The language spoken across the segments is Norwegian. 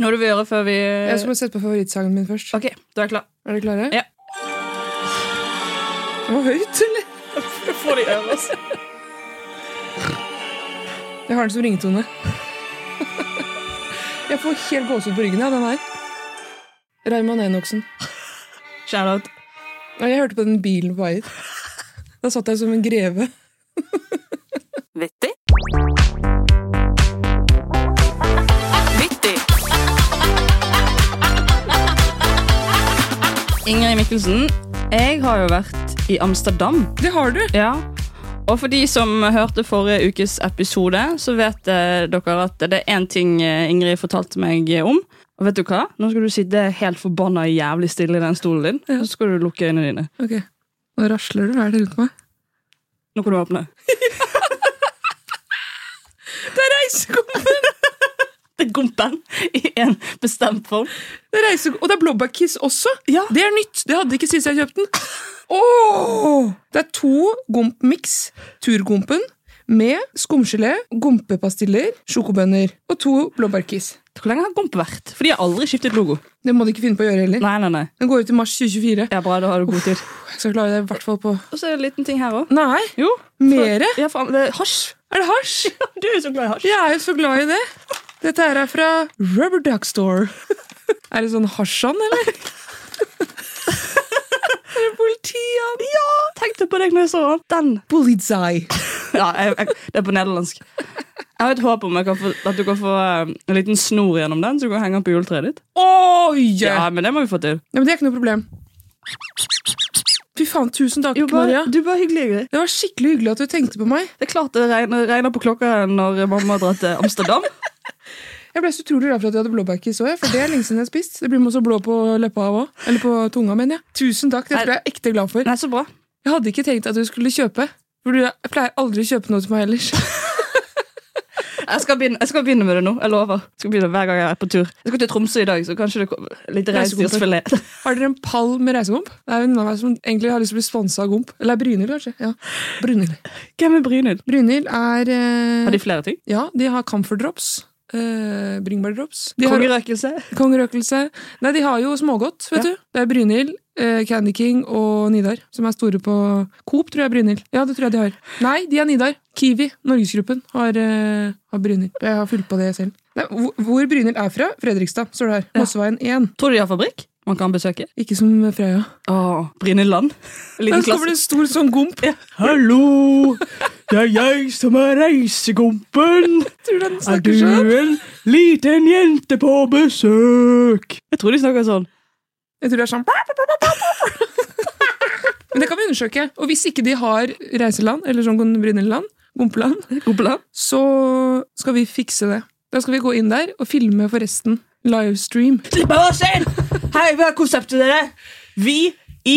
Nå har du vært før vi Jeg skulle sett på favorittsangen min først. Ok, du er klar. Er dere klare? Ja. Det var høyt, eller? Får de øve oss? Jeg har den som ringetone. Jeg får helt gåsehud på ryggen av den her. Raymond Enoksen. Shout-out. Ja, Jeg hørte på den bilen på vei hit. Da satt jeg som en greve. Vittig. Vittig. Ingrid Mikkelsen, jeg har jo vært i Amsterdam. Det har du! Ja. Og for de som hørte forrige ukes episode, så vet eh, dere at det er én ting eh, Ingrid fortalte meg eh, om. Og vet du hva? Nå skal du sitte helt forbanna jævlig stille i den stolen din. Og så skal du lukke øynene dine. Ok, Nå rasler du. Hva er det rundt meg? Nå kan du åpne. Det er reisekompen! Det er gompen i en bestemt form. Det er reise... Og det er blåbærkiss også! Ja. Det er nytt! Det hadde jeg ikke sist jeg kjøpte den. Åh! Det er to gomp-miks. Turgompen med skumgelé, gompepastiller, sjokobønner og to blåbærkiss. Hvor lenge har gomp vært? For de har aldri skiftet logo. Det må du ikke finne på å gjøre heller. Nei, nei, nei. Den går ut i mars 2024. Ja, bra, da har du god tid. Jeg skal klare det i hvert fall på Og så er det en liten ting her òg. Nei! Jo. Mere? Ja, faen, det er hasj. Er det hasj? Du er så glad i hasj. Jeg er jo så glad i det. Dette her er fra Rubber Duck Store. Er det sånn hasjan, eller? er det politiet? Ja! Tenkte på deg når jeg så den. Polizei. Ja, jeg, jeg, det er på nederlandsk. Jeg har et håp om jeg kan få, at du kan få eh, en liten snor gjennom den, så du kan henge den på juletreet ditt. Oi! Ja, Ja. men det må vi få til. men det er ikke noe problem. Fy faen, tusen takk, Maria. du er bare hyggelig. Ingrid. Det var skikkelig hyggelig at du tenkte på meg. Det er klart det regner, regner på klokka når mamma drar til Amsterdam. Jeg ble så utrolig glad for at du hadde blåbærkiss òg, for det er lenge siden jeg har spist. Det blir man så blå på leppa av òg. Eller på tunga, mener jeg. Tusen takk, dette ble jeg ekte glad for. Nei, så bra. Jeg hadde ikke tenkt at du skulle kjøpe. For du pleier aldri å kjøpe noe til meg ellers. Jeg skal, begynne, jeg skal begynne med det nå. Jeg lover. Jeg skal begynne hver gang jeg er på tur. Jeg skal til Tromsø i dag, så kanskje det kommer litt reinsdyrsfilet. Har dere en pall med reisegomp? Det er en venninne av meg som egentlig har lyst til å bli sponsa av Gomp. Eller Brynhild, kanskje. Ja. Brynhild. Hvem er Brynhild? Brynhild er eh, Har Mm. de flere ting? Ja, de har Comfort Drops. Eh, Bringebærdrops. De har- Kongerøkelse? Kongerøkelse. Nei, de har jo smågodt, vet Ja. du. Det er Brynhild, eh, Candy King og Nidar, som er store på Coop, tror jeg er Brynhild. Ja, det tror jeg de har. Nei, de er Nidar. Kiwi, Norgesgruppen, har, eh, har Brynhild. Jeg har fulgt på det selv. Nei, hvor- hvor Brynhild er fra? Fredrikstad, står det her. Mosseveien 1. Tror du de har fabrikk man kan besøke? Ikke som Freya. Åh, Brynildland. Der Liten kommer det klasse. en stor sånn gomp. Hallo, det er jeg som er reisegompen. Tror du den snakker sånn? en liten jente på besøk? Jeg tror de snakker sånn. Jeg tror det er sånn Men det kan vi undersøke. Og hvis ikke de har reiseland, eller sånn Brynildland, Gompeland, Oppland? så skal vi fikse det. Da skal vi gå inn der og filme forresten. Livestream. Slipp av oss inn! Hei, hva er konseptet dere? Vi i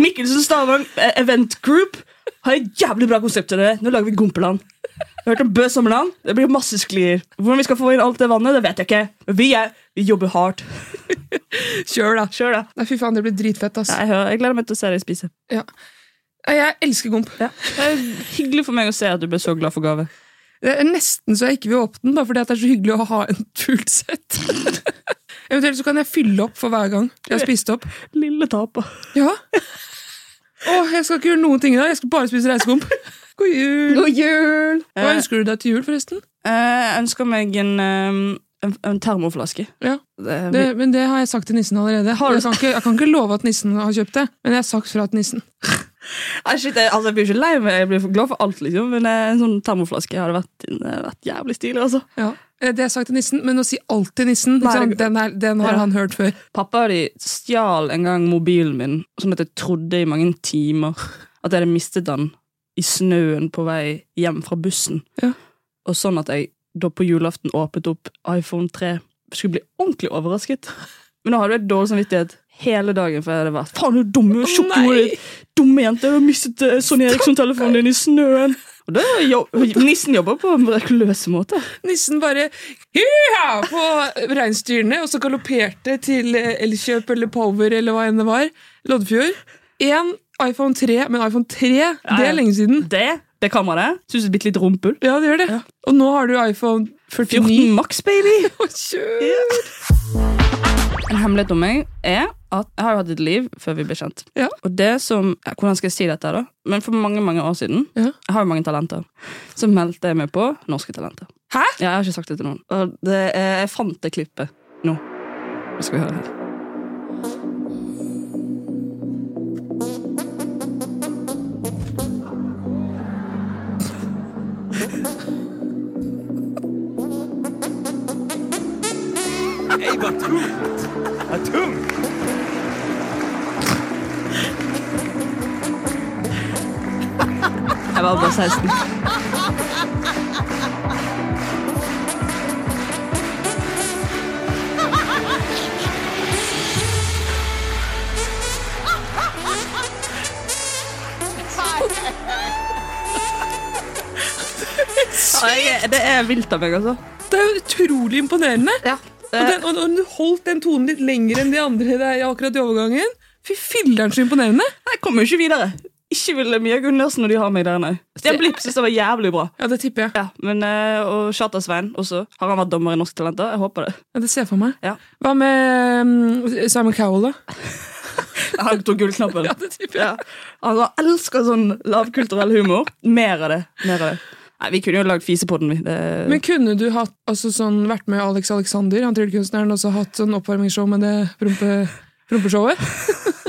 Mikkelsen Stavang eh, Event Group har et jævlig bra konsept til dere. Nå lager vi Gompeland. Jeg har hørt om Bø sommerland. Det blir masse sklier. Hvordan vi skal få inn alt det vannet, det vet jeg ikke. Men vi, er, vi jobber hardt. Kjør, da. Kjør da. Nei, fy faen, det blir dritfett, ass. Jeg, hører, jeg gleder meg til å se deg spise. Ja. Nei, Jeg elsker gomp. Ja. Det er hyggelig for meg å se at du ble så glad for gave. Det er nesten så jeg ikke vil åpne den, bare fordi at det er så hyggelig å ha en fullt sett. Eventuelt så kan jeg fylle opp for hver gang jeg har spist opp. Lille taper. Ja. Åh, jeg skal ikke gjøre noen ting i dag. Jeg skal bare spise reisegomp. God jul! God jul! Eh, Hva ønsker du deg til jul, forresten? jeg ønsker meg en, eh, en, en termoflaske. Ja, Det er det, Men det har jeg sagt til nissen allerede. Jeg kan, ikke, jeg kan ikke love at nissen har kjøpt det, men jeg har sagt fra til nissen. min- Nei, shit, jeg, altså, jeg blir ikke lei meg, jeg blir glad for alt, liksom. Men eh, en sånn termoflaske hadde vært, det hadde vært jævlig stilig, altså. Ja. Eh, Det har jeg sagt til nissen, men å si alt til nissen, ikke Nei, sant? det- Den, er, den har Ja. han hørt før. Pappa og de stjal en gang mobilen min, sånn at jeg trodde i mange timer at jeg hadde mistet den i snøen på vei hjem fra bussen. Ja. Og sånn at jeg da på julaften åpnet opp iPhone 3, skulle bli ordentlig overrasket. Men nå hadde jeg dårlig samvittighet hele dagen, for jeg hadde vært faen, du dumme, tjukke nei! hodet ditt. Dumme jente, du har mistet eh, Sonny Eriksson-telefonen din i snøen. Og det er jo, nissen jobber på en mirakuløs måte. Nissen bare «Hyha!» på reinsdyrene, og så galopperte til eh, Elkjøp eller Power eller hva enn det var. Loddefjord. Én iPhone 3, men iPhone 3, det ja. er lenge siden. Det, det kammeret, synes jeg er et bitte litt rumpull. Ja, det gjør det. Og nå har du iPhone 49. maks, baby! Å, kjør. En hemmelighet om meg er at jeg har jo hatt et liv før vi ble kjent. Ja. Og det som, eh, Hvordan skal jeg si dette, da? Men For mange mange år siden Ja. jeg har jo mange talenter, så meldte jeg meg på Norske Talenter. Hæ? Ja, Jeg har ikke sagt det til noen. Og det, eh, jeg fant det klippet nå. Nå skal vi høre her. Ey, vad tungt! Vad tungt! Jeg var bare 16. Ja, jeg- Det er vilt av meg, altså. Det er jo utrolig imponerende. Og, Eh, den, og, og du holdt den tonen litt lenger enn de andre der akkurat i overgangen. Fy filler'n, så imponerende! Jeg kommer jo ikke videre. Ikke ville Mia Gundersen når de har meg der, nei. Stian Blipp synes det var jævlig bra. Ja, det tipper jeg. Ja, men, eh, Og Charter-Svein også. Har han vært dommer i Norske Talenter? Jeg håper det. Ja, det ser jeg for meg. Ja. Hva med mm, Simon Cowell, da? Han tok gullknappen. det tipper Ja. Han har elsker sånn lavkulturell humor. Mer av det. Mer av det. Nei, Vi kunne jo lagd Fisepodden, vi. Det... Men kunne du hatt, altså, sånn, vært med Alex Alexander, han tryllekunstneren, og så hatt sånn oppvarmingsshow med det prompe, prompeshowet?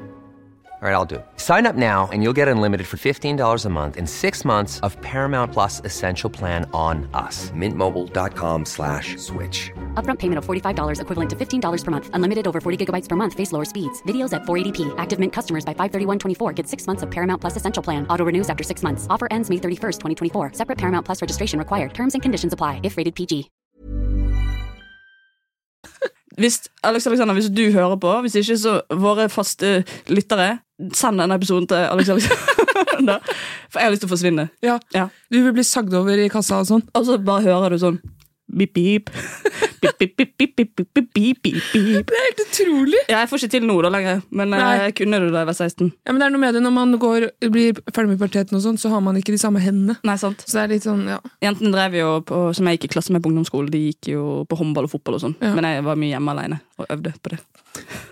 All right, I'll do it. Sign up now and you'll get unlimited for $15 a month in six months of Paramount Plus Essential Plan on us. Mintmobile.com slash switch. Upfront payment of $45 equivalent to $15 per month. Unlimited over 40 gigabytes per month. Face lower speeds. Videos at 480p. Active Mint customers by 531.24 get six months of Paramount Plus Essential Plan. Auto renews after six months. Offer ends May 31st, 2024. Separate Paramount Plus registration required. Terms and conditions apply if rated PG. Hvis, Alex Alexander, hvis du hører på, hvis ikke så våre faste lyttere, send denne episoden til Alex Alexander. For jeg har lyst til å forsvinne. Ja. Ja. Du vil bli sagd over i kassa og sånn. Og så bare hører du sånn Bip, bip. Bip, bip, bip, bip, bip, bip, bip, bip, bip, bip. Det er helt utrolig! Ja, jeg får ikke til nå da lenger, men eh, Nei. jeg kunne det da jeg var 16. Ja, men det er noe med det, Når man går, blir ferdig med puberteten, og sånn, så har man ikke de samme hendene. Nei, sant? Så det er litt sånn, ja. Jentene drev jo på, som jeg gikk i klasse med på ungdomsskolen, de gikk jo på håndball og fotball og sånn. Ja. Men jeg var mye hjemme alene og øvde på det.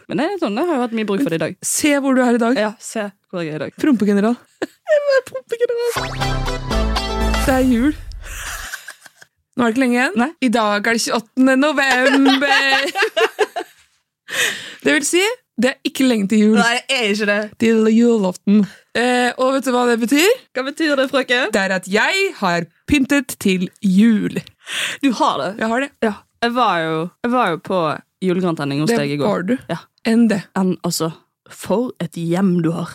Men det er sånn, jeg har jo hatt mye bruk for det i dag. Se hvor du er i dag. Ja, se hvor jeg er i dag. Prompegeneral. Det er jul. Nå er det ikke lenge igjen. Nei. I dag er det 28. november. Det vil si, det er ikke lenge til jul. Nei, det er ikke det. Til julaften. Eh, og vet du hva det betyr? Hva betyr det, frøken? Det er at jeg har pyntet til jul. Du har det. Jeg har det. Ja. Jeg var jo, jeg var jo på julegrantenning hos Det deg i går. var du. Ja. Enn det. Enn altså, for et hjem du har.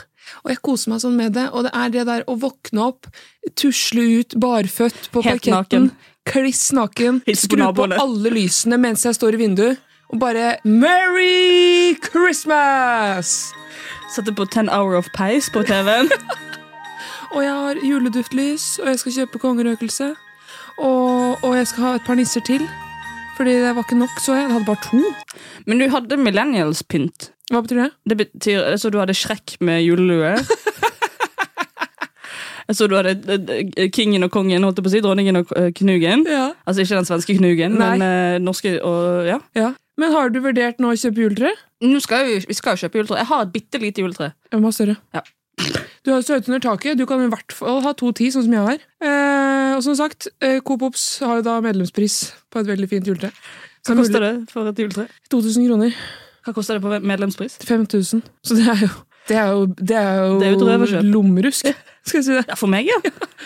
Og jeg koser meg sånn med det. Og det er det der å våkne opp, tusle ut barføtt på Helt parketten, naken. kliss naken, Hilse på skru på naboene. alle lysene mens jeg står i vinduet, og bare Merry Christmas! Sette på 10 Hour of Pace på TV-en. Og jeg har juleduftlys, og jeg skal kjøpe kongerøkelse. Og, og jeg skal ha et par nisser til. Fordi det var ikke nok, så jeg. Jeg hadde bare to. Men du hadde millennials-pynt. Hva betyr det? Det betyr, jeg så du hadde Shrek med julelue. Jeg så du hadde eh, kingen og kongen, holdt jeg på å si, dronningen og eh, knugen. Ja. Altså ikke den svenske knugen, Nei. men eh, norske og ja. ja. Men har du vurdert nå å kjøpe juletre? Nå skal vi, vi skal jo kjøpe juletre. Jeg har et bitte lite juletre. Jeg må ha større. Ja. Du har jo så høyt under taket. Du kan i hvert fall ha to ti, sånn som jeg har. Eh, og som sagt, eh, Coop Ops har jo da medlemspris på et veldig fint juletre. Hva koster det for et juletre? 2000 kroner. Hva koster det på medlemspris? 5000. Så det er jo Det er jo, det er jo, Det er jo et røverkjøp. lommerusk. Skal jeg si det. Ja, for meg, ja.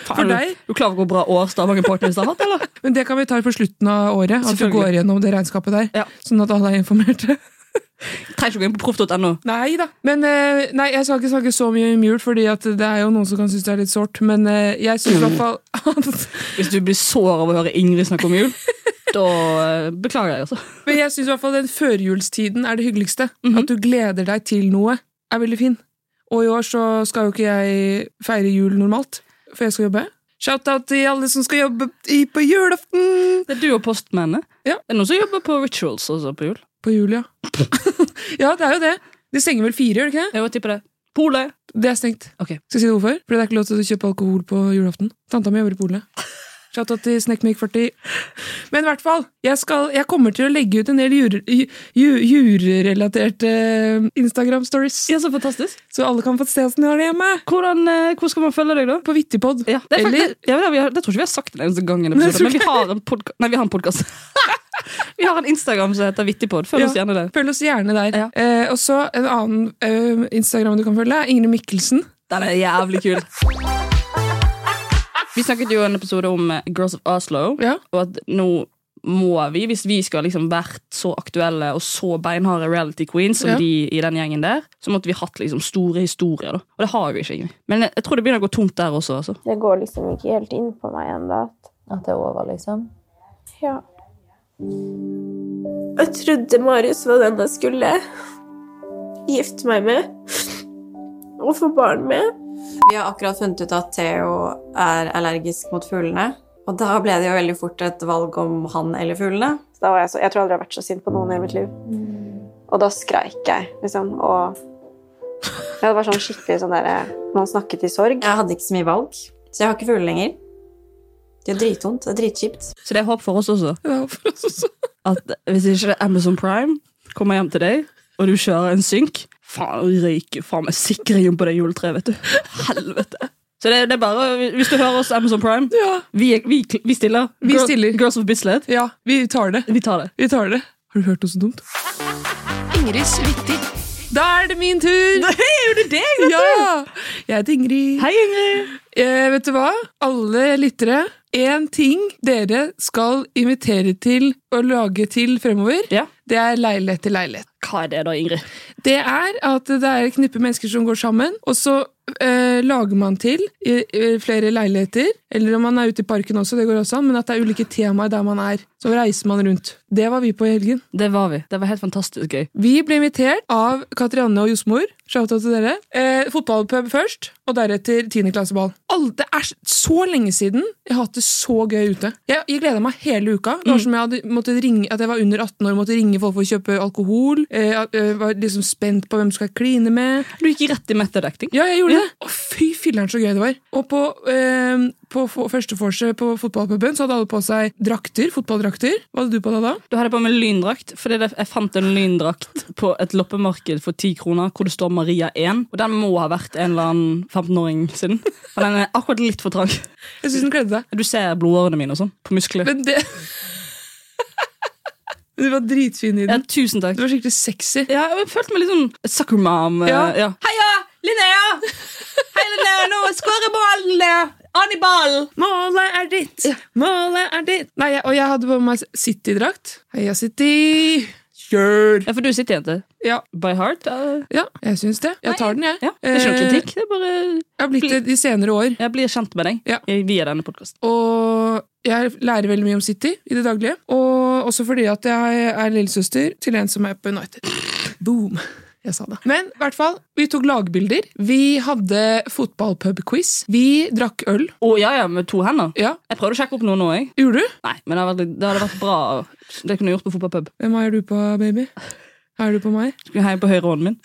Faen, du- deg? Du klarer hvor bra år Stavanger Partners har hatt, eller? Men det kan vi ta på slutten av året. At vi Selvfølgelig. går gjennom det regnskapet der. Ja. Sånn at alle er informerte. Trenger ikke å gå inn på proff.no. Nei da. Men eh, nei, jeg skal ikke snakke så mye om jul, fordi at det er jo noen som kan synes det er litt sårt. Men eh, jeg syns i hvert fall at Hvis du blir sår av å høre Ingrid snakke om jul, da eh, beklager jeg, altså. Men jeg syns i hvert fall den førjulstiden er det hyggeligste. At du gleder deg til noe, er veldig fin. Og i år så skal jo ikke jeg feire jul normalt, for jeg skal jobbe. Shout-out til alle som skal jobbe i- på julaften! Det er du og postmennene. Ja. Det er noen som jobber på rituals også på jul. På jul, ja. ja, det er jo det. De stenger vel fire, gjør det ikke det? Jeg vil tippe det. Polet. Det er stengt. Ok. Skal jeg si det hvorfor? Fordi det er ikke lov til å kjøpe alkohol på julaften. Tanta mi jobber i polet. Shout-out til Snekkmik40. Men i hvert fall, jeg, skal, jeg kommer til å legge ut en del jure- ju- ju- jurerelaterte eh, Instagram-stories. Ja, så fantastisk. Så alle kan få se åssen de har det hjemme. Hvordan, eh, hvor skal man følge deg, da? På Vittipod. Ja, det, er Eller- faktisk, ja, det, vi har, det tror ikke vi har sagt en eneste gang, i en Nei, jeg episode, tror men vi har en podka- Nei, vi har en podkast. vi har en Instagram som heter Vittigpod. Følg oss Ja. gjerne der. Følg oss gjerne der. Ja. Eh, og så en annen eh, Instagram du kan følge, er Ingrid Mikkelsen. Den er jævlig kul. Vi snakket jo en episode om eh, Girls of Oslo, Ja. og at nå må vi, hvis vi skal liksom vært så aktuelle og så beinharde reality queens som Ja. de i den gjengen der, så måtte vi hatt liksom store historier. da. Og det har vi ikke. egentlig. Men jeg, jeg tror det begynner å gå tomt der også. altså. Det går liksom ikke helt inn på meg ennå. At det er over, liksom. Ja. Jeg trodde Marius var den jeg skulle gifte meg med og få barn med. Vi har akkurat funnet ut at Theo er allergisk mot fuglene. Og da ble det jo veldig fort et valg om han eller fuglene. Så Da var jeg, så, jeg tror aldri jeg har vært så sint på noen i hele mitt liv. Og da skreik jeg, liksom. Og ja, det var sånn skikkelig sånn derre Man snakket i sorg. Jeg hadde ikke så mye valg, så jeg har ikke fugler lenger. Det er dritvondt. Det er dritkjipt. Så det er håp for oss også. Ja, for oss også. at hvis ikke Amazon Prime kommer hjem til deg, og du kjører en synk Faen, røyker faen meg sikringen på det juletreet, vet du. Helvete. Så det, det er bare, Hvis du hører oss, Amazon Prime, Ja. vi, er- vi, vi stiller. Vi stiller. Girls of Bislett. ja, vi tar det. Vi tar det. Vi tar det. Har du hørt noe så dumt? Ingrids vittig. Da er det min tur! er jo deg, Ja! Jeg heter Ingrid. Hei, Ingrid. Eh, vet du hva? Alle lyttere, én ting dere skal invitere til og lage til fremover, Ja. det er leilighet til leilighet. Hva er det da, Ingrid? Det er at det er et knippe mennesker som går sammen, og så eh, lager man til i, i flere leiligheter. Eller om man er ute i parken også, det går også an, men at det er ulike temaer der man er. Så reiser man rundt. Det var vi på i helgen. Det var vi. Det var helt fantastisk gøy. Vi ble invitert av Katrianne og Josmor. Shout-out til dere. Eh, fotballpub først, og deretter 10. klasseball. All, det er så lenge siden jeg har hatt det så gøy ute. Jeg, jeg gleda meg hele uka. Det var som jeg hadde måttet ringe, at jeg var under 18 år og måtte ringe folk for å kjøpe alkohol. Eh, at, eh, var liksom spent på hvem skal jeg kline med. Du gikk rett i method-acting. Ja, jeg gjorde det. Å, fy filleren så gøy det var. Og på, eh, på f- første vorset på fotballpuben så hadde alle på seg drakter, fotballdrakter. Hva hadde du på deg da? Du hadde på meg lyndrakt, fordi det- jeg fant en lyndrakt på et loppemarked for 10 kroner, hvor det står Maria 1, og den må ha vært en eller annen 15-åring siden. Og den er akkurat litt for trang. Jeg syns den kledde deg. Du ser blodårene mine og sånn, på muskler. Men det Men Du var dritfin i Ja, den. tusen Du takk. var skikkelig sexy. Ja, jeg følte meg litt sånn sucker mom. eh, Ja. ja. Heia, Linnea! Hei, Linnea, nå skårer ballen, Linnea! An i ballen! Målet er ditt! Målet er ditt! Nei, jeg, og jeg hadde på meg City-drakt. Heia City! Kjør! Ja, for du sitter, jente. Ja, By heart? eh, ja, jeg syns det. Jeg tar den, jeg. Ja, det er ikke noe Eh, kritikk. Det er bare Jeg har blitt det de senere år. Jeg blir kjent med deg Ja. eh, via denne podkasten. Og jeg lærer veldig mye om City i det daglige. Og også fordi at jeg er lillesøster til en som er på United. Boom! Jeg sa det. Men i hvert fall, vi tok lagbilder. Vi hadde fotballpub-quiz. Vi drakk øl. Å ja, ja, med to hender. Ja, Jeg prøvde å sjekke opp noe nå, jeg. gjorde du? Nei, men det hadde vært, litt- det hadde vært bra. Det kunne jeg gjort på fotballpub. Hvem heier du på, baby? Heier du på meg? Skulle heie på høyre hånden min.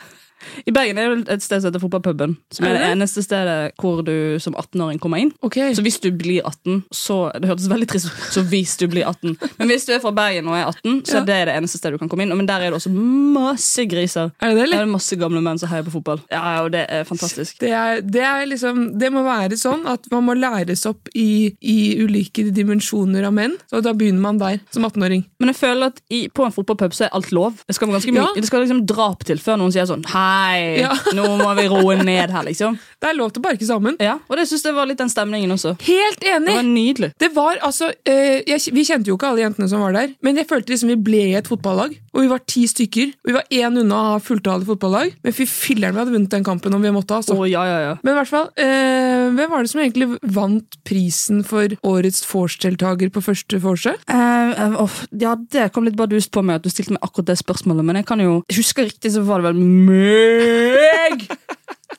I Bergen er det et sted som heter fotballpuben, som er det Er eneste stedet hvor du som 18-åring kommer inn. Ok. Så hvis du blir 18, så Det hørtes veldig trist ut. Så hvis du blir 18. Men hvis du er fra Bergen og er 18, så Ja. er det det eneste stedet du kan komme inn. Men der er det også masse griser. Er det det, Der er eller? det masse gamle menn som heier på fotball. Ja, ja, og det er fantastisk. Det, er, det, er liksom, det må være sånn at man må læres opp i, i ulike dimensjoner av menn. Så da begynner man der, som 18-åring. Men jeg føler at i, på en fotballpub så er alt lov. Det skal, være ganske mye, Ja. det skal liksom drap til før noen sier sånn Hæ, Nei, Ja. nå må vi roe ned her, liksom. Det er lov til å barke sammen. Ja, Og det syns jeg var litt den stemningen også. Helt Det enig! var nydelig. Det var altså, eh, jeg, Vi kjente jo ikke alle jentene som var der, men jeg følte liksom vi ble i et fotballag. Og vi var ti stykker. Og vi var én unna å ha fulltallet fotballag. Men fy filleren, vi hadde vunnet den kampen om vi måtte. Å, altså. ja, ja, ja. Men i hvert fall, eh, hvem var det som egentlig vant prisen for årets vorstelltaker på første vorset? Eh, ja, det kom litt bardust på meg at du stilte meg akkurat det spørsmålet, men jeg kan jo jeg husker riktig, så var det vel meg!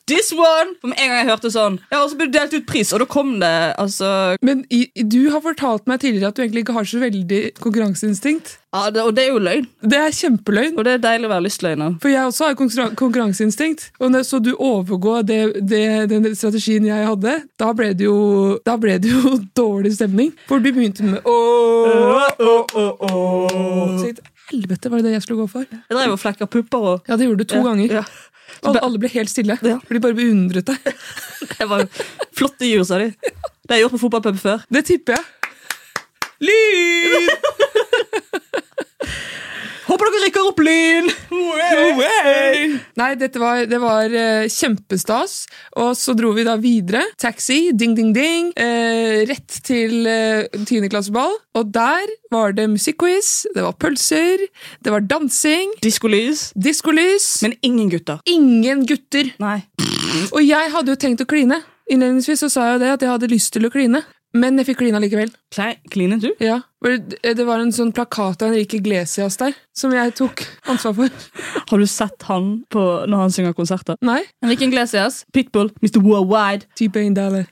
This one! For med en gang jeg hørte sånn Ja, og så ble det delt ut pris, og da kom det altså Men i, i- du har fortalt meg tidligere at du egentlig ikke har så veldig konkurranseinstinkt. ja, det, Og det er jo løgn. Det er kjempeløgn. Og det er deilig å være lystløgner. For jeg også har konkurran- konkurranseinstinkt. Og når så du overgå det, det, den strategien jeg hadde, da ble det jo, da ble det jo dårlig stemning. For du begynte med Å, så jeg tenkte, Helvete, var det det jeg skulle gå for? Jeg drev og flekka pupper og Ja, det gjorde du to ganger. ja. Og alle ble helt stille. Ja. For de bare beundret deg. Det var jo flotte jur, sa de. Det har jeg gjort på fotballpub før. Det tipper jeg. Lyd! Håper dere rykker opp lyn! Nei, dette var, det var eh, kjempestas. Og så dro vi da videre. Taxi, ding, ding, ding. eh, rett til eh, tiendeklasseball. Og der var det musikkquiz, det var pølser, det var dansing, Diskolys. diskolys. Men Men ingen gutter. ingen gutter! Nei. Og jeg hadde jo tenkt å kline. Innledningsvis så sa jeg jo det at jeg hadde lyst til å kline. Men jeg fikk klina likevel. Klei- Klinet du? Ja, for Det det var en sånn plakat av Henrike Glesias der, som jeg tok ansvar for. Har du sett han på, når han synger konserter? Nei. Henrik Inglesias, Pitbull, Mr. Worldwide T-Bane Dale.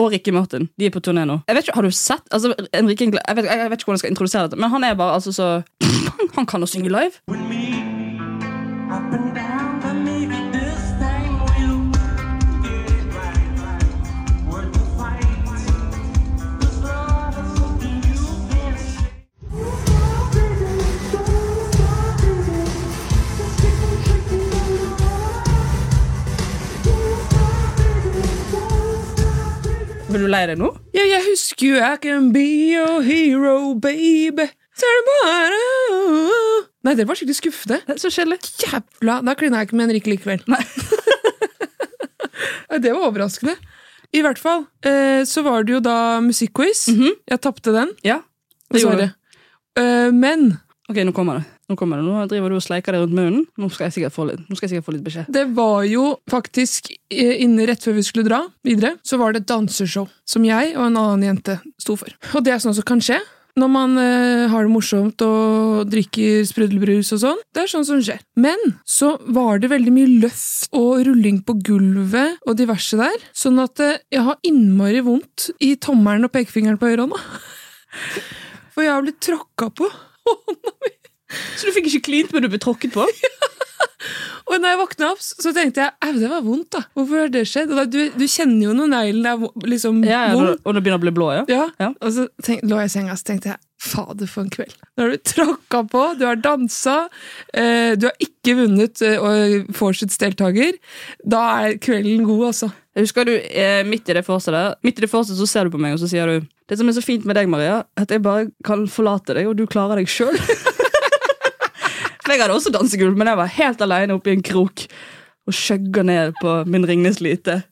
og Ricky Martin. De er på turné nå. Jeg vet ikke, har du sett? Altså, Henrik Ingle jeg, vet, jeg vet ikke hvordan jeg skal introdusere dette, men han er bare altså, så Han kan å synge live. Blir du lei deg nå? Ja, jeg husker jo I can be your hero, baby. Så er det bare Nei, det var skikkelig skuffende. Det er så kjedelig. Jævla Da klina jeg ikke med Henrik likevel. Nei. det var overraskende. I hvert fall eh, så var det jo da musikkquiz. Jeg tapte den, Ja, Mhm. det gjorde dessverre. det. Eh, men Ok, nå kommer det. Nå kommer det. Nå driver du og sleiker deg rundt munnen. Nå skal jeg sikkert få litt, nå skal jeg sikkert få litt beskjed. det var jo faktisk eh, inne rett før vi skulle dra videre, så var det et danseshow som jeg og en annen jente sto for. Og det er sånn som kan skje når man eh, har det morsomt og drikker sprudlebrus og sånn. Det er sånn som skjer. Men så var det veldig mye løft og rulling på gulvet og diverse der, sånn at eh, jeg har innmari vondt i tommelen og pekefingeren på høyre hånda. For jeg har blitt tråkka på. Så du fikk ikke klint, men du ble tråkket på? Og når jeg våkna opp, så tenkte jeg au, det var vondt, da. Hvorfor har det skjedd? Og da, du, du kjenner jo når neglen er vo- liksom Ja, ja, vond. når- Og det begynner å bli blå, ja? Ja. Ja. Og så tenk, lå jeg i senga så tenkte jeg, fader for en kveld. Nå har du tråkka på, du har dansa, eh, du har ikke vunnet eh, Forsets deltaker. Da er kvelden god, altså. Jeg husker du, eh, midt i det første der Midt i det første så ser du på meg og så sier du Det som er så fint med deg, Maria, at jeg bare kan forlate deg, og du klarer deg sjøl. For jeg hadde også dansegulv, men jeg var helt aleine oppe i en krok og skjøgga ned på min Ringnes Lite.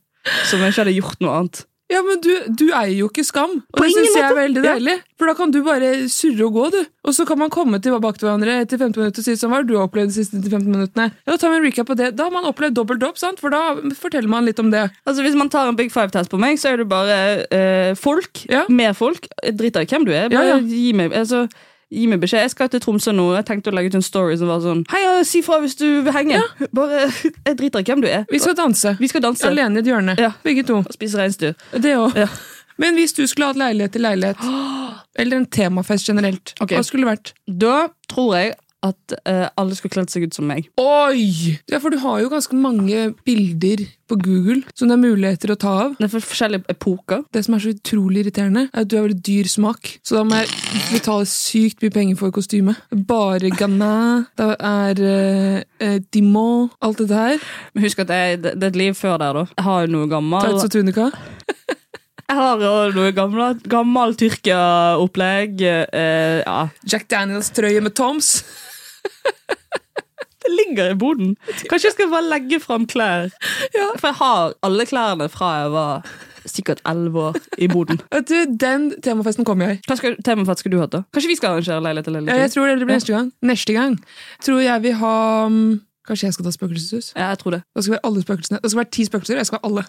Som jeg ikke hadde gjort noe annet. Ja, men du, du eier jo ikke skam. Og På det ingen syns jeg er måte. veldig Ja. deilig. For da kan du bare surre og gå, du. Og så kan man komme til bak til hverandre etter 15 minutter og si sånn, hva har du opplevd de siste 15 minuttene? Ja, Da tar vi en recap på det. Da har man opplevd dobbelt opp, sant? For da forteller man litt om det. Altså Hvis man tar en Big Five-test på meg, så er du bare eh, folk. Ja. Mer folk. Jeg driter i hvem du er. Bare Ja, ja. Gi, meg, altså, gi meg beskjed. Jeg skal til Tromsø nå. Jeg tenkte å legge ut en story som var sånn Hei, ja, si fra hvis du vil henge. Bare, Jeg driter i hvem du er. Vi skal danse. Vi skal danse Alene i et hjørne. Ja. Begge to. og spise reinsdyr. Det òg. Ja. Men hvis du skulle hatt leilighet til leilighet, eller en temafest generelt, Ok. hva skulle det vært? Da tror jeg at eh, alle skulle kledd seg ut som meg. Oi! Ja, for du har jo ganske mange bilder på Google som det er muligheter å ta av. Det er for forskjellige epoker. Det som er så utrolig irriterende, er at du har veldig dyr smak. Så da må jeg betale sykt mye penger for kostyme. Bare Ghana, det er uh, Dimon, alt det der. Men husk at jeg, det, det er et liv før der, da. Jeg har jo noe gammel Tights og tunika. Jeg har jo noe gammel, gammel Tyrkia-opplegg. eh, ja. Jack Daniels-trøye med Toms. Det ligger i boden. Kanskje jeg skal bare legge fram klær. For jeg har alle klærne fra jeg var sikkert elleve år i boden. Vet du, Den temafesten kommer jeg. Hva skal, temafest skal du ha, da? Kanskje vi skal arrangere leilighet til Ja, leilighet? jeg tror det blir neste gang. Neste gang tror jeg vi har mm, Kanskje jeg skal ta spøkelseshus? Ja, jeg tror det. Da skal vi ha alle spøkelsene. Det skal være ti spøkelser, og jeg skal ha alle.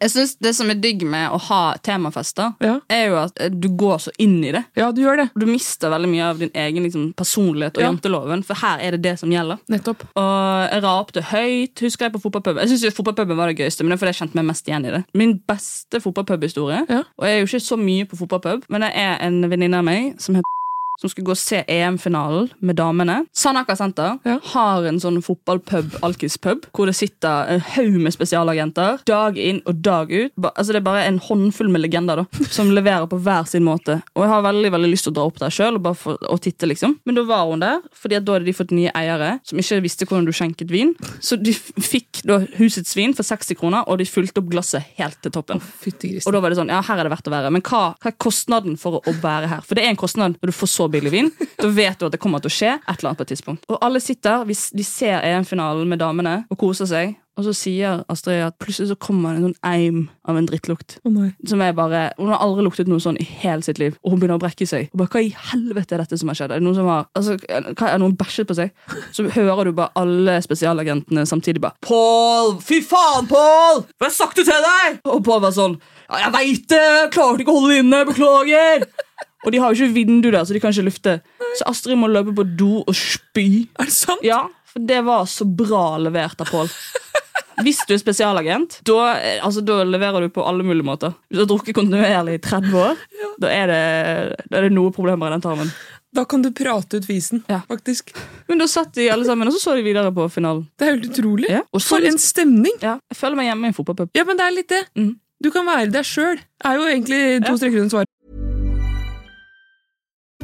Jeg synes Det som er digg med å ha temafester, Ja. er jo at eh, du går så inn i det. Ja, du gjør det. Du mister veldig mye av din egen liksom, personlighet og Ja. janteloven, for her er det det som gjelder. Nettopp. Og jeg rapte høyt, husker jeg, på fotballpuben. Jeg synes jo fotballpuben var det gøyeste, men det er fordi jeg kjente meg mest igjen i det. Min beste fotballpubhistorie, Ja. og jeg er jo ikke så mye på fotballpub, men det er en venninne av meg som heter som skulle gå og se EM-finalen med damene. Sanaka senter Ja. har en sånn fotballpub, alkispub, hvor det sitter en haug med spesialagenter dag inn og dag ut. Ba, altså Det er bare en håndfull med legender da, som leverer på hver sin måte. Og jeg har veldig veldig lyst til å dra opp der sjøl og, bare for- og titte, liksom. Men da var hun der, fordi at da hadde de fått nye eiere som ikke visste hvordan du skjenket vin. Så de f- fikk da husets vin for 60 kroner, og de fylte opp glasset helt til toppen. Fytti Og grisen. da var det sånn, ja, her er det verdt å være. Men hva, hva er kostnaden for å, å være her? For det er en kostnad når du får så billig vin. Da vet du at det kommer til å skje et eller annet på et tidspunkt. Og alle sitter, vi, s- de ser EM-finalen med damene og koser seg. Og så sier Astrid at plutselig så kommer det en sånn eim av en drittlukt. Å nei. Som er bare, Hun har aldri luktet noe sånn i hele sitt liv. Og hun begynner å brekke seg. Og bare, Hva i helvete er dette som har skjedd? Er det noen som har, altså, hva, er noen bæsjet på seg? Så hører du bare alle spesialagentene samtidig bare Pål! Fy faen, Pål! Hva har jeg sagt det til deg? Og Pål var sånn ja, Jeg veit det! Jeg klarte ikke å holde det inne! Beklager! Og de har jo ikke vindu der, så de kan ikke lufte. Så Astrid må løpe på do og spy. Er det sant? Ja, for det var så bra levert av Pål. Hvis du er spesialagent, da, eh, altså, da leverer du på alle mulige måter. Hvis du har drukket kontinuerlig i 30 år, da, er det, da er det noe problemer i den tarmen. Da kan du prate ut fisen, Ja. faktisk. Men da satt de alle sammen, og så så de videre på finalen. Det er helt utrolig. Ja. Og sånn- så- For en stemning! Ja, jeg føler meg hjemme i en fotballpub. Ja, men det er litt det. Mm. Du kan være deg sjøl. Er jo egentlig to streker under svaret.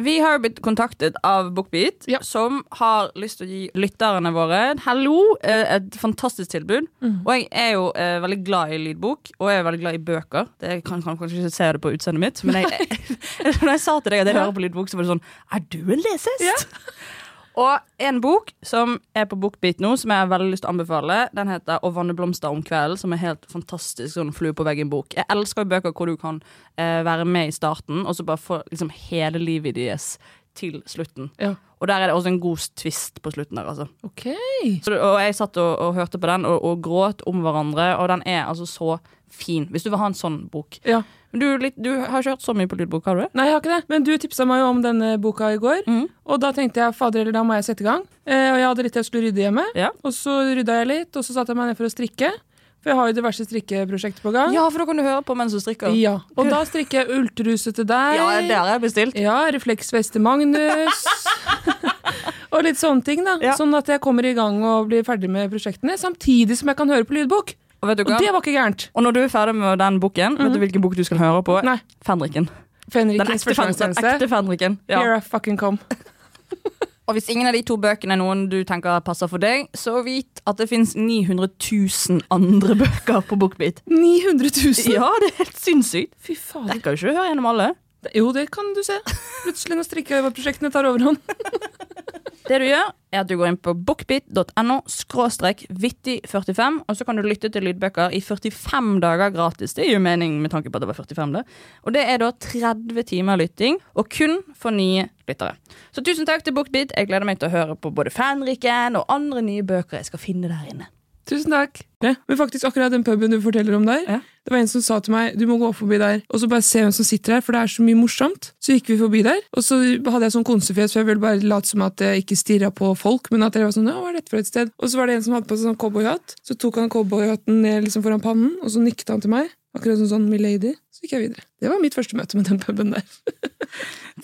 Vi har jo blitt kontaktet av Bookbeat, Ja. som har lyst til å gi lytterne våre en hallo, eh, et fantastisk tilbud. Og jeg er jo eh, veldig glad i lydbok, og jeg er veldig glad i bøker. Det jeg kan, kan kanskje ikke se det på utseendet mitt, men jeg, når jeg sa til deg at jeg hører på lydbok, så var det sånn Er du en lesehest? Og en bok som er på Bookbeat nå, som jeg har veldig lyst til å anbefale, den heter Å vanne blomster om kvelden, som er helt fantastisk sånn flue på veggen-bok. Jeg elsker jo bøker hvor du kan eh, være med i starten, og så bare få liksom hele livet deres til slutten. Ja. Og der er det også en god twist på slutten der, altså. Ok. Så, det- og jeg satt og, og hørte på den, og, og gråt om hverandre, og den er altså så fin. Hvis du vil ha en sånn bok. Ja. Men du, er litt, du har ikke hørt så mye på lydbok, har du det? Nei, jeg har ikke det. Men du tipsa meg jo om denne boka i går. Mm. Og da tenkte jeg fader eller da må jeg sette i gang. Eh, og jeg hadde litt til jeg skulle rydde hjemme. Ja. Og så rydda jeg litt, og så satte jeg meg ned for å strikke. For jeg har jo diverse strikkeprosjekter på gang. Ja, for da kan du høre på mens du strikker. Ja. Og da strikker jeg ulltruse til deg. Ja, det har jeg bestilt. Ja, refleksvest til Magnus. og litt sånne ting, da. Ja. Sånn at jeg kommer i gang og blir ferdig med prosjektene, samtidig som jeg kan høre på lydbok. Og vet du Og hva? det var ikke gærent. Og når du er ferdig med den boken, vet du hvilken bok du skal høre på? Nei. Fenriken. Den ekte, Fenrikens fen den ekte førstegangstjeneste. Fenriken. Here Ja. I fucking come. Og hvis ingen av de to bøkene er noen du tenker passer for deg, så vit at det fins 900 000 andre bøker på Bookbeat. 900 000! Ja, det er helt sinnssykt. Fy fader. Jeg kan jo ikke høre gjennom alle. Jo, det kan du se. Plutselig når strikkeprosjektene tar overhånd. Det du gjør, er at du går inn på bookbit.no skråstrek vittig45, og så kan du lytte til lydbøker i 45 dager gratis. Det gir jo mening med tanke på at det var 45, det. Og det er da 30 timer lytting, og kun for nye lyttere. Så tusen takk til Bookbit. Jeg gleder meg til å høre på både Fanriken og andre nye bøker jeg skal finne der inne. Tusen takk. Men faktisk akkurat den puben du forteller om der, Ja. det var en som sa til meg du må gå forbi der og så bare se hvem som sitter her, for det er så mye morsomt. Så gikk vi forbi der, og så hadde jeg sånn konsefjes, for jeg ville bare late som at jeg ikke stirra på folk, men at jeg var sånn ja, hva er dette for et sted? Og så var det en som hadde på seg sånn cowboyhatt, så tok han cowboyhatten ned liksom foran pannen, og så nikket han til meg. Akkurat som sånn Milady. Så gikk jeg videre. Det var mitt første møte med den puben der.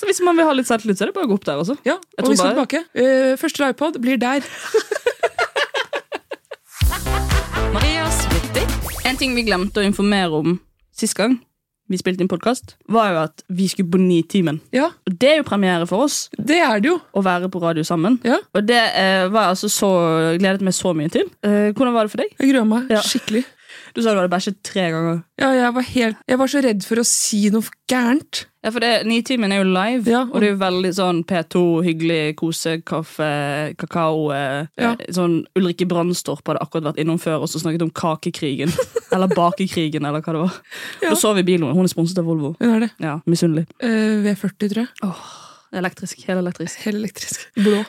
Så hvis man vil ha litt selvtillit, så er det bare å gå opp der også. Ja, Jeg og vi tror skal tilbake. Eh, første livepod blir der. Marias vittig. En ting vi glemte å informere om sist gang vi spilte inn podkast, var jo at vi skulle på Nitimen. Ja, Og det er jo premiere for oss det er det jo. å være på radio sammen. Ja. Og det eh, var jeg altså så gledet meg så mye til. Eh, hvordan var det for deg? Jeg gruer meg Ja. skikkelig. Du sa du hadde bæsjet tre ganger. Ja, jeg var, helt, jeg var så redd for å si noe gærent. Ja, for det, Nitimen er jo live, Ja, og, og- det er jo veldig sånn P2, hyggelig, kose, kaffe, kakao eh, Ja. eh, Sånn Ulrikke Brandstorp hadde akkurat vært innom før og så snakket om kakekrigen. eller bakekrigen, eller hva det var. Da så vi bilen. Hun er sponset av Volvo. Hun er det. Ja, Misunnelig. Eh, V40, tror jeg. Elektrisk. Helt elektrisk. Helt elektrisk. Blå.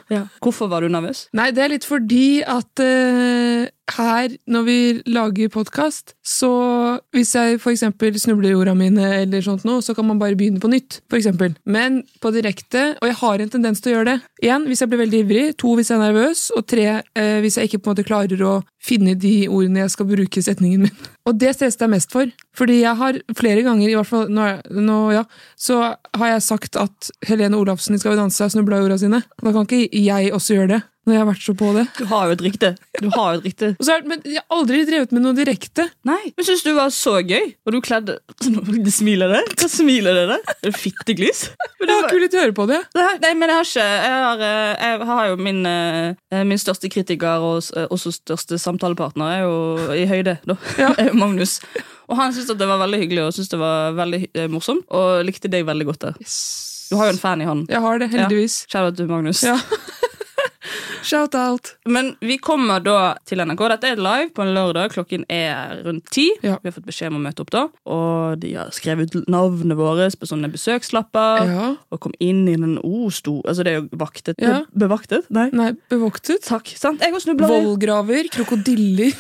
Hvorfor var du nervøs? Nei, det er litt fordi at eh, her, når vi lager podkast, så hvis jeg for eksempel snubler i ordene mine, eller sånt noe, så kan man bare begynne på nytt. For eksempel. Men på direkte, og jeg har en tendens til å gjøre det. Én hvis jeg blir veldig ivrig, to hvis jeg er nervøs, og tre eh, hvis jeg ikke på en måte klarer å finne de ordene jeg skal bruke i setningen min. Og det stresset jeg mest for. Fordi jeg har flere ganger, i hvert fall nå, er- nå ja, så har jeg sagt at Helene Olafsen i Skal vi danse har snubla i ordene sine. Da kan ikke jeg også gjøre det, når jeg har vært så på det. Du har jo et rykte. Du har jo et rykte. Og så er, det- men jeg har aldri drevet med noe direkte. Nei, men syns du var så gøy? Og du kledde Det smiler det. Hva smiler det der? Er det Fitteglis? Men det Det var var- kult å høre på det. Det her- Nei, men jeg har ikke Jeg har, eh, jeg har jo min, eh, min største kritiker og s- eh, også største samtalepartner er jo i høyde, da. er jo Magnus. Og han syntes at det var veldig hyggelig og syntes det var veldig hy- eh, morsomt. Og likte deg veldig godt der. Du har jo en fan i han. Jeg har det, heldigvis. Kjære til Magnus. Ja. Shout out. Men vi kommer da til NRK. Dette er live på en lørdag. Klokken er rundt ti. Ja. Vi har fått beskjed om å møte opp da. Og de har skrevet ut navnene våre på sånne besøkslapper. Ja. Og kom inn i den O sto Altså, det er jo vaktet. Ja. Be bevaktet? Nei. Nei, bevoktet. Takk. sant? Jeg òg snubla i Vollgraver, krokodiller.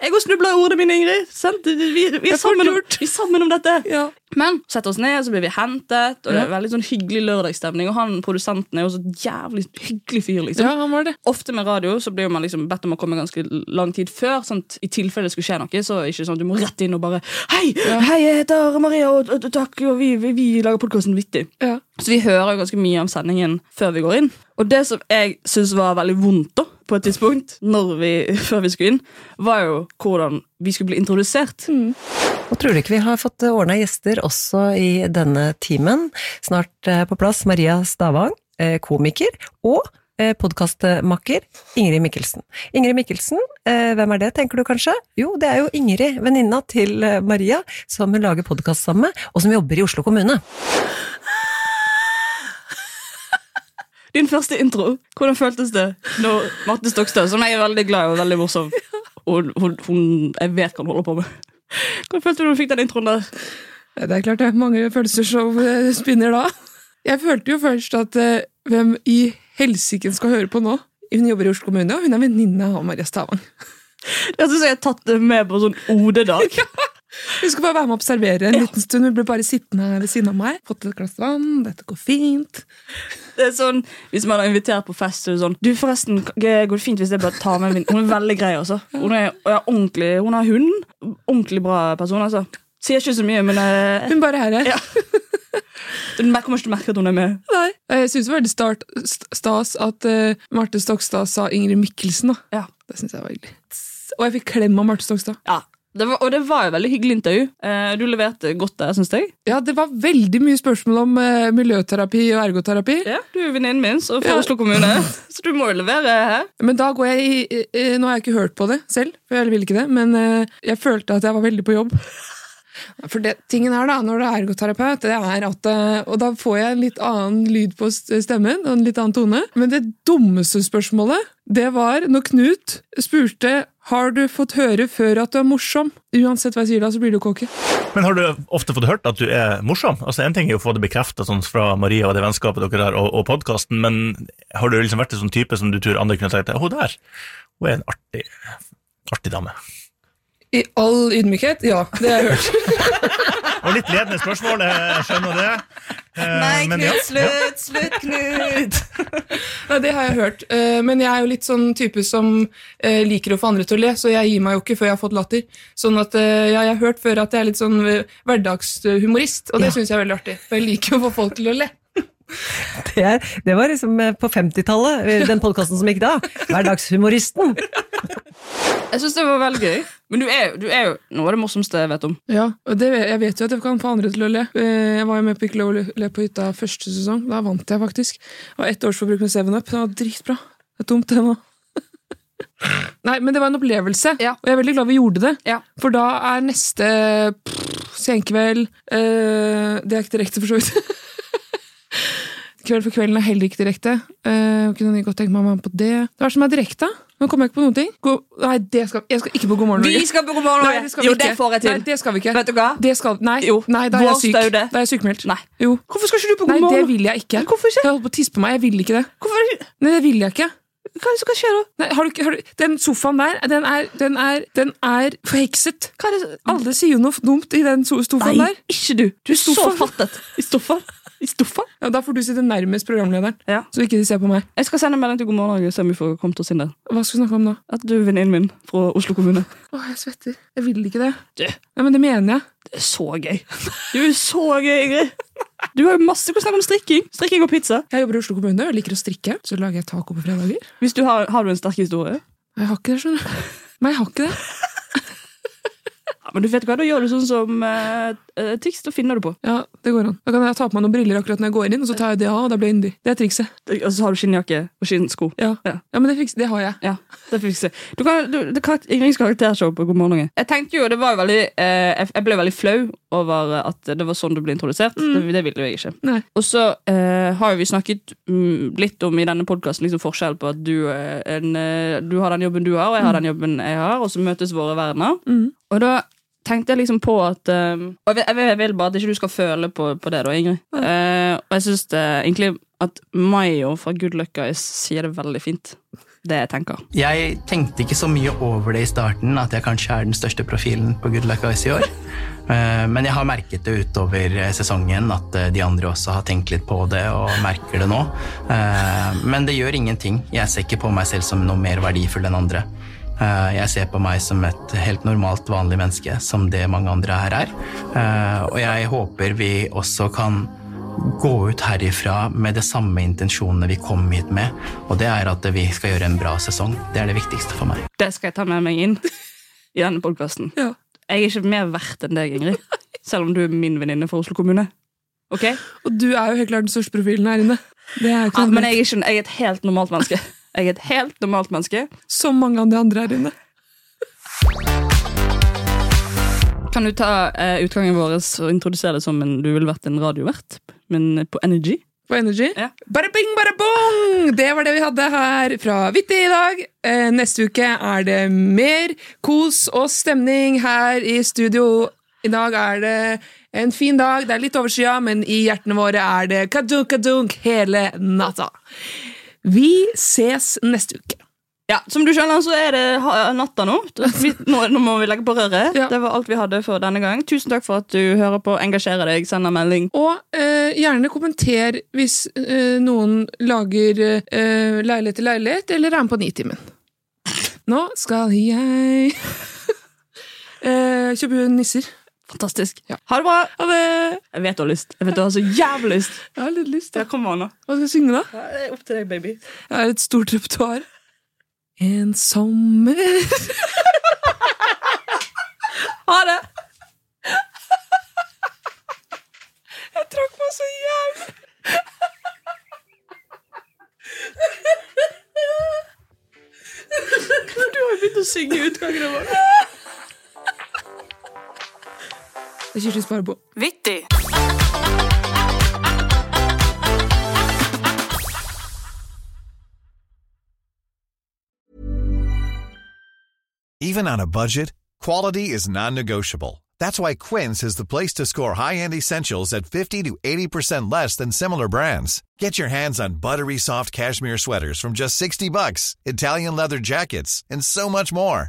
jeg også snubla i ordene mine, Ingrid. Sant? Vi, vi, vi, er er sammen om, forlurt. vi er sammen om dette. ja. Men setter oss ned, så blir vi hentet, og det Ja. er veldig sånn hyggelig lørdagsstemning. Og han produsenten er jo så jævlig hyggelig fyr, liksom. ja, han var det. Ofte med radio så blir jo man liksom bedt om å komme ganske lang tid før. Sånn, at I tilfelle det skulle skje noe. Så er det ikke sånn at Du må rett inn og bare Hei, hei, jeg heter Maria, og, og, og takk, og vi, vi, vi lager podkasten Vittig. Ja. Så vi hører jo ganske mye om sendingen før vi går inn. Og det som jeg syns var veldig vondt, da, på et tidspunkt, når vi, før vi skulle inn, var jo hvordan vi skulle bli introdusert. Og tror du ikke vi har fått ordna gjester også i denne timen? Snart eh, på plass Maria Stavang, eh, komiker, og podkastmaker Ingrid Mikkelsen. Ingrid Mikkelsen, eh, hvem er det, tenker du kanskje? Jo, det er jo Ingrid, venninna til eh, Maria, som hun lager podkast sammen med, og som jobber i Oslo kommune. Din første intro, hvordan føltes det når Marte Stokstad, som jeg er veldig glad i og veldig morsom og hun, hun, Jeg vet hva hun holder på med. Hvordan følte du når du fikk den introen der? Ja, Det er klart det er mange følelser som eh, spinner da. Jeg følte jo først at eh, hvem i helsiken skal høre på nå? Hun jobber i Oslo kommune, og hun er venninne av Maria Stavang. Jeg synes jeg har tatt det med på sånn OD-dag. Hun skal bare være med og observere en liten stund. Hun ble bare sittende her ved siden av meg. Fått et glass vann. Dette går fint. Det er sånn, Hvis man har invitert på fest, så er det sånn Du, forresten, g- går det fint hvis jeg bare tar med min Hun er veldig grei, altså. Hun er, og er ordentlig, hun har hund. Ordentlig bra person, altså. Sier ikke så mye, men eh, Hun bare er her. Ja. du mer- kommer ikke til å merke at hun er med. Nei. Eh, Jeg syns det var veldig start, st- stas at eh, Marte Stokstad sa Ingrid Mikkelsen. da. Ja. Det syns jeg var hyggelig. Og jeg fikk klem av Marte Stokstad. Ja, det var, Og det var jo veldig hyggelig intervju. Eh, du leverte godt der, syns jeg. Ja, det var veldig mye spørsmål om eh, miljøterapi og ergoterapi. Ja, Du er jo venninnen min så fra Ja. Oslo kommune, så du må jo levere her. Men da går jeg i eh, eh, Nå har jeg ikke hørt på det selv, for jeg vil ikke det, men eh, jeg følte at jeg var veldig på jobb. For det, tingen her da, når du er ergoterapeut, det er at eh, Og da får jeg en litt annen lyd på st- stemmen, og en litt annen tone. Men det dummeste spørsmålet, det var når Knut spurte har du fått høre før at du er morsom. Uansett hva jeg sier da, så blir du kåke. Men har du ofte fått hørt at du er morsom? Altså, En ting er jo å få det bekrefta sånn fra Maria og det vennskapet dere har, og, og podkasten, men har du liksom vært en sånn type som du tror andre kunne tenkt deg Hun der, hun er en artig, artig dame. I all ydmykhet, ja. Det har jeg hørt. var litt ledende spørsmål, jeg skjønner det. Eh, Nei, men ja. Knut, slutt, slutt, Knut! Nei, det har jeg hørt. Eh, Men jeg er jo litt sånn type som eh, liker å få andre til å le, så jeg gir meg jo ikke før jeg har fått latter. Sånn at eh, ja, jeg har hørt før at jeg er litt sånn eh, hverdagshumorist, og det synes syns jeg er veldig artig. For jeg liker å få folk til å le. Det, er, det var liksom eh, på 50-tallet, eh, den podkasten som gikk da. Hverdagshumoristen. Jeg syns det var veldig gøy. Men du er, du er jo noe av det morsomste jeg vet om. Ja, og det, jeg vet jo at jeg kan få andre til å le. Eh, Jeg var jo med på Ikke lov å le på hytta første sesong. Da vant jeg faktisk. Og ett årsforbruk med 7-Up. Det var dritbra. Det er tomt, det nå. Nei, men det var en opplevelse, og jeg er veldig glad vi gjorde det. For da er neste pff, senkveld eh, Det er ikke direkte, for så vidt. Kveld for kvelden er heller ikke direkte. Eh, kunne godt tenke meg å være med på det. Hva er det som er direkte? da? Nå kommer jeg ikke på noen ting. God, nei, det skal, jeg skal ikke på God morgen Norge. Vi skal på God morgen Norge. Nei, det skal Jo, vi ikke. det får jeg til. Nei, det skal vi ikke. Vet du hva? Det skal, nei, nei, da er Vår jeg syk. staude. Da er jeg sykemeldt. Nei. Jo. Hvorfor skal ikke du på Nei, God det morgen? vil jeg ikke. Jeg holdt på å tisse på meg. Jeg vil ikke det. Nei, det vil jeg ikke. Hva skal skje da? Nei, har du, ikke- har du, den sofaen der, den er, den er, den er forhekset. Alle sier jo noe dumt i den so- sofaen Nei, der. ikke du. Du er så fattet. I sofaen. I sofaen. Ja, da får du sitte nærmest programlederen, så ikke de ser på meg. Jeg skal sende en melding til God morgen Norge og se om vi får kommet oss inn der. Hva skal vi snakke om da? At du er venninnen min fra Oslo kommune. Åh, jeg svetter. Jeg vil ikke det. Ja, men det mener jeg. Det er så gøy. Du er så gøy, Ingrid. Du har jo masse å snakke om strikking. Strikking og pizza. Jeg jobber i Oslo kommune og liker å strikke, så lager jeg taco på fredager. Hvis du har, har du en sterk historie? Jeg har ikke det, skjønner du. Nei, jeg har ikke det. Ja, men du vet hva, Da gjør du sånn som uh, Tix. Da finner du på. Ja, det går an. Da kan jeg ta på meg noen briller akkurat når jeg går inn, og så tar jeg det av, og da blir jeg yndig. Det er trikset. Og så Altså, har du skinnjakke og skinnsko. Ja, men det, fikser, det har jeg. Ja, det fikser du kan, du, det karakter, Ingrids karaktershow på God morgen Norge. Jeg tenkte jo, det var jo veldig eh, jeg- Jeg ble veldig flau over at det var sånn du ble introdusert. Det, det ville jeg ikke. Nei. Og så eh, har jo vi snakket mm, litt om i denne podkasten liksom forskjell på at du, eh, en, eh, du har den jobben du har, og jeg har den jobben jeg har, og så møtes våre verdener. Og da tenkte jeg liksom på at eh, Og jeg vil- jeg vil, jeg vil bare at ikke du skal føle på, på det, da, Ingrid. Eh, og jeg syns egentlig at Mayo fra Good Luck Guys sier det veldig fint. Det jeg tenker. Jeg tenkte ikke så mye over det i starten, at jeg kanskje er den største profilen på Good Luck Ice i år. Eh, Men jeg har merket det utover eh, sesongen, at eh, de andre også har tenkt litt på det og merker det nå. Eh, Men det gjør ingenting. Jeg ser ikke på meg selv som noe mer verdifull enn andre. Eh, Jeg ser på meg som et helt normalt, vanlig menneske, som det mange andre her er. Eh, Og jeg håper vi også kan gå ut herifra med de samme intensjonene vi kom hit med, og det er at vi skal gjøre en bra sesong. Det er det viktigste for meg. Det skal jeg ta med meg inn i denne podkasten. Jeg er ikke mer verdt enn deg, Ingrid. Selv om du er min venninne fra Oslo kommune. Ok? Og du er jo helt klart den største profilen her inne. Det er jo ikke Ja, noe men annet. jeg er, ikke, jeg er et helt normalt menneske. Jeg er et helt normalt menneske. Som mange av de andre her inne. Kan du ta eh, utgangen vår og introdusere det som en, du ville vært en radiovert, men på Energy? På Energy. Bare bing, bare bong! Det var det vi hadde her fra Vitti i dag. Eh, neste uke er det mer kos og stemning her i studio. I dag er det en fin dag. Det er litt overskya, men i hjertene våre er det kadunk-kadunk hele natta. Vi ses neste uke. Ja, Som du skjønner, så er det ha- natta nå. Vi- Nå, nå må vi legge på røret. Det var alt vi hadde for denne gang. Tusen takk for at du hører på, engasjerer deg, sender melding. Og eh, gjerne kommenter hvis eh, noen lager eh, leilighet til leilighet, eller er med på Nitimen. Nå skal jeg eh, kjøpe nisser. Fantastisk. Ha det bra. Ha det. Jeg vet du har lyst. Jeg vet du har så jævlig lyst. Jeg har litt lyst. Ja, kom an, da. Hva skal jeg synge, da? Det er opp til deg, baby. Jeg har et stort repertoar. En sommer Ha det! Jeg trakk meg så jævlig. Du har jo begynt å synge i utgangen vår. Det er Kirsti Sparbo. Vittig. Even on a budget, quality is non-negotiable. That's why Quince is the place to score high-end essentials at 50 to 80% less than similar brands. Get your hands on buttery soft cashmere sweaters from just 60 bucks, Italian leather jackets, and so much more.